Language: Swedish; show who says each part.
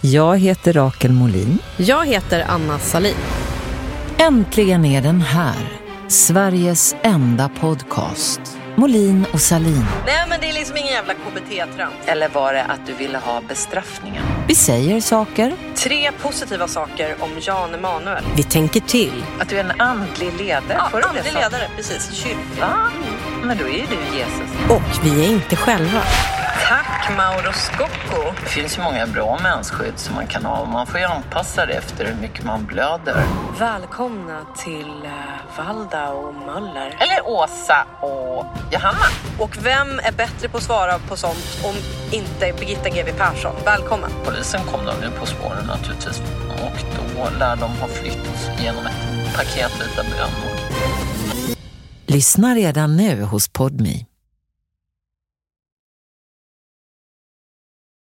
Speaker 1: Jag heter Rakel Molin.
Speaker 2: Jag heter Anna Salin.
Speaker 3: Äntligen är den här. Sveriges enda podcast. Molin och Salin.
Speaker 4: Nej, men det är liksom ingen jävla KBT-trams.
Speaker 5: Eller var det att du ville ha bestraffningen?
Speaker 3: Vi säger saker.
Speaker 4: Tre positiva saker om Jan Emanuel.
Speaker 2: Vi tänker till.
Speaker 5: Att du är en andlig ledare.
Speaker 4: Ja,
Speaker 5: Får du det
Speaker 4: andlig
Speaker 5: så?
Speaker 4: ledare, precis. Kyrklig.
Speaker 5: Va? Men då är ju du Jesus.
Speaker 2: Och vi är inte själva.
Speaker 4: Tack Mauro Scocco.
Speaker 5: Det finns ju många bra mensskydd som man kan ha och man får ju anpassa det efter hur mycket man blöder.
Speaker 4: Välkomna till eh, Valda och Möller.
Speaker 5: Eller Åsa och Johanna.
Speaker 4: Och vem är bättre på att svara på sånt om inte Birgitta GW Persson? Välkommen.
Speaker 5: Polisen kom de ju på spåren naturligtvis och då lär de ha flytt genom ett paket vita bönor.
Speaker 3: Lyssna redan nu hos Podmi.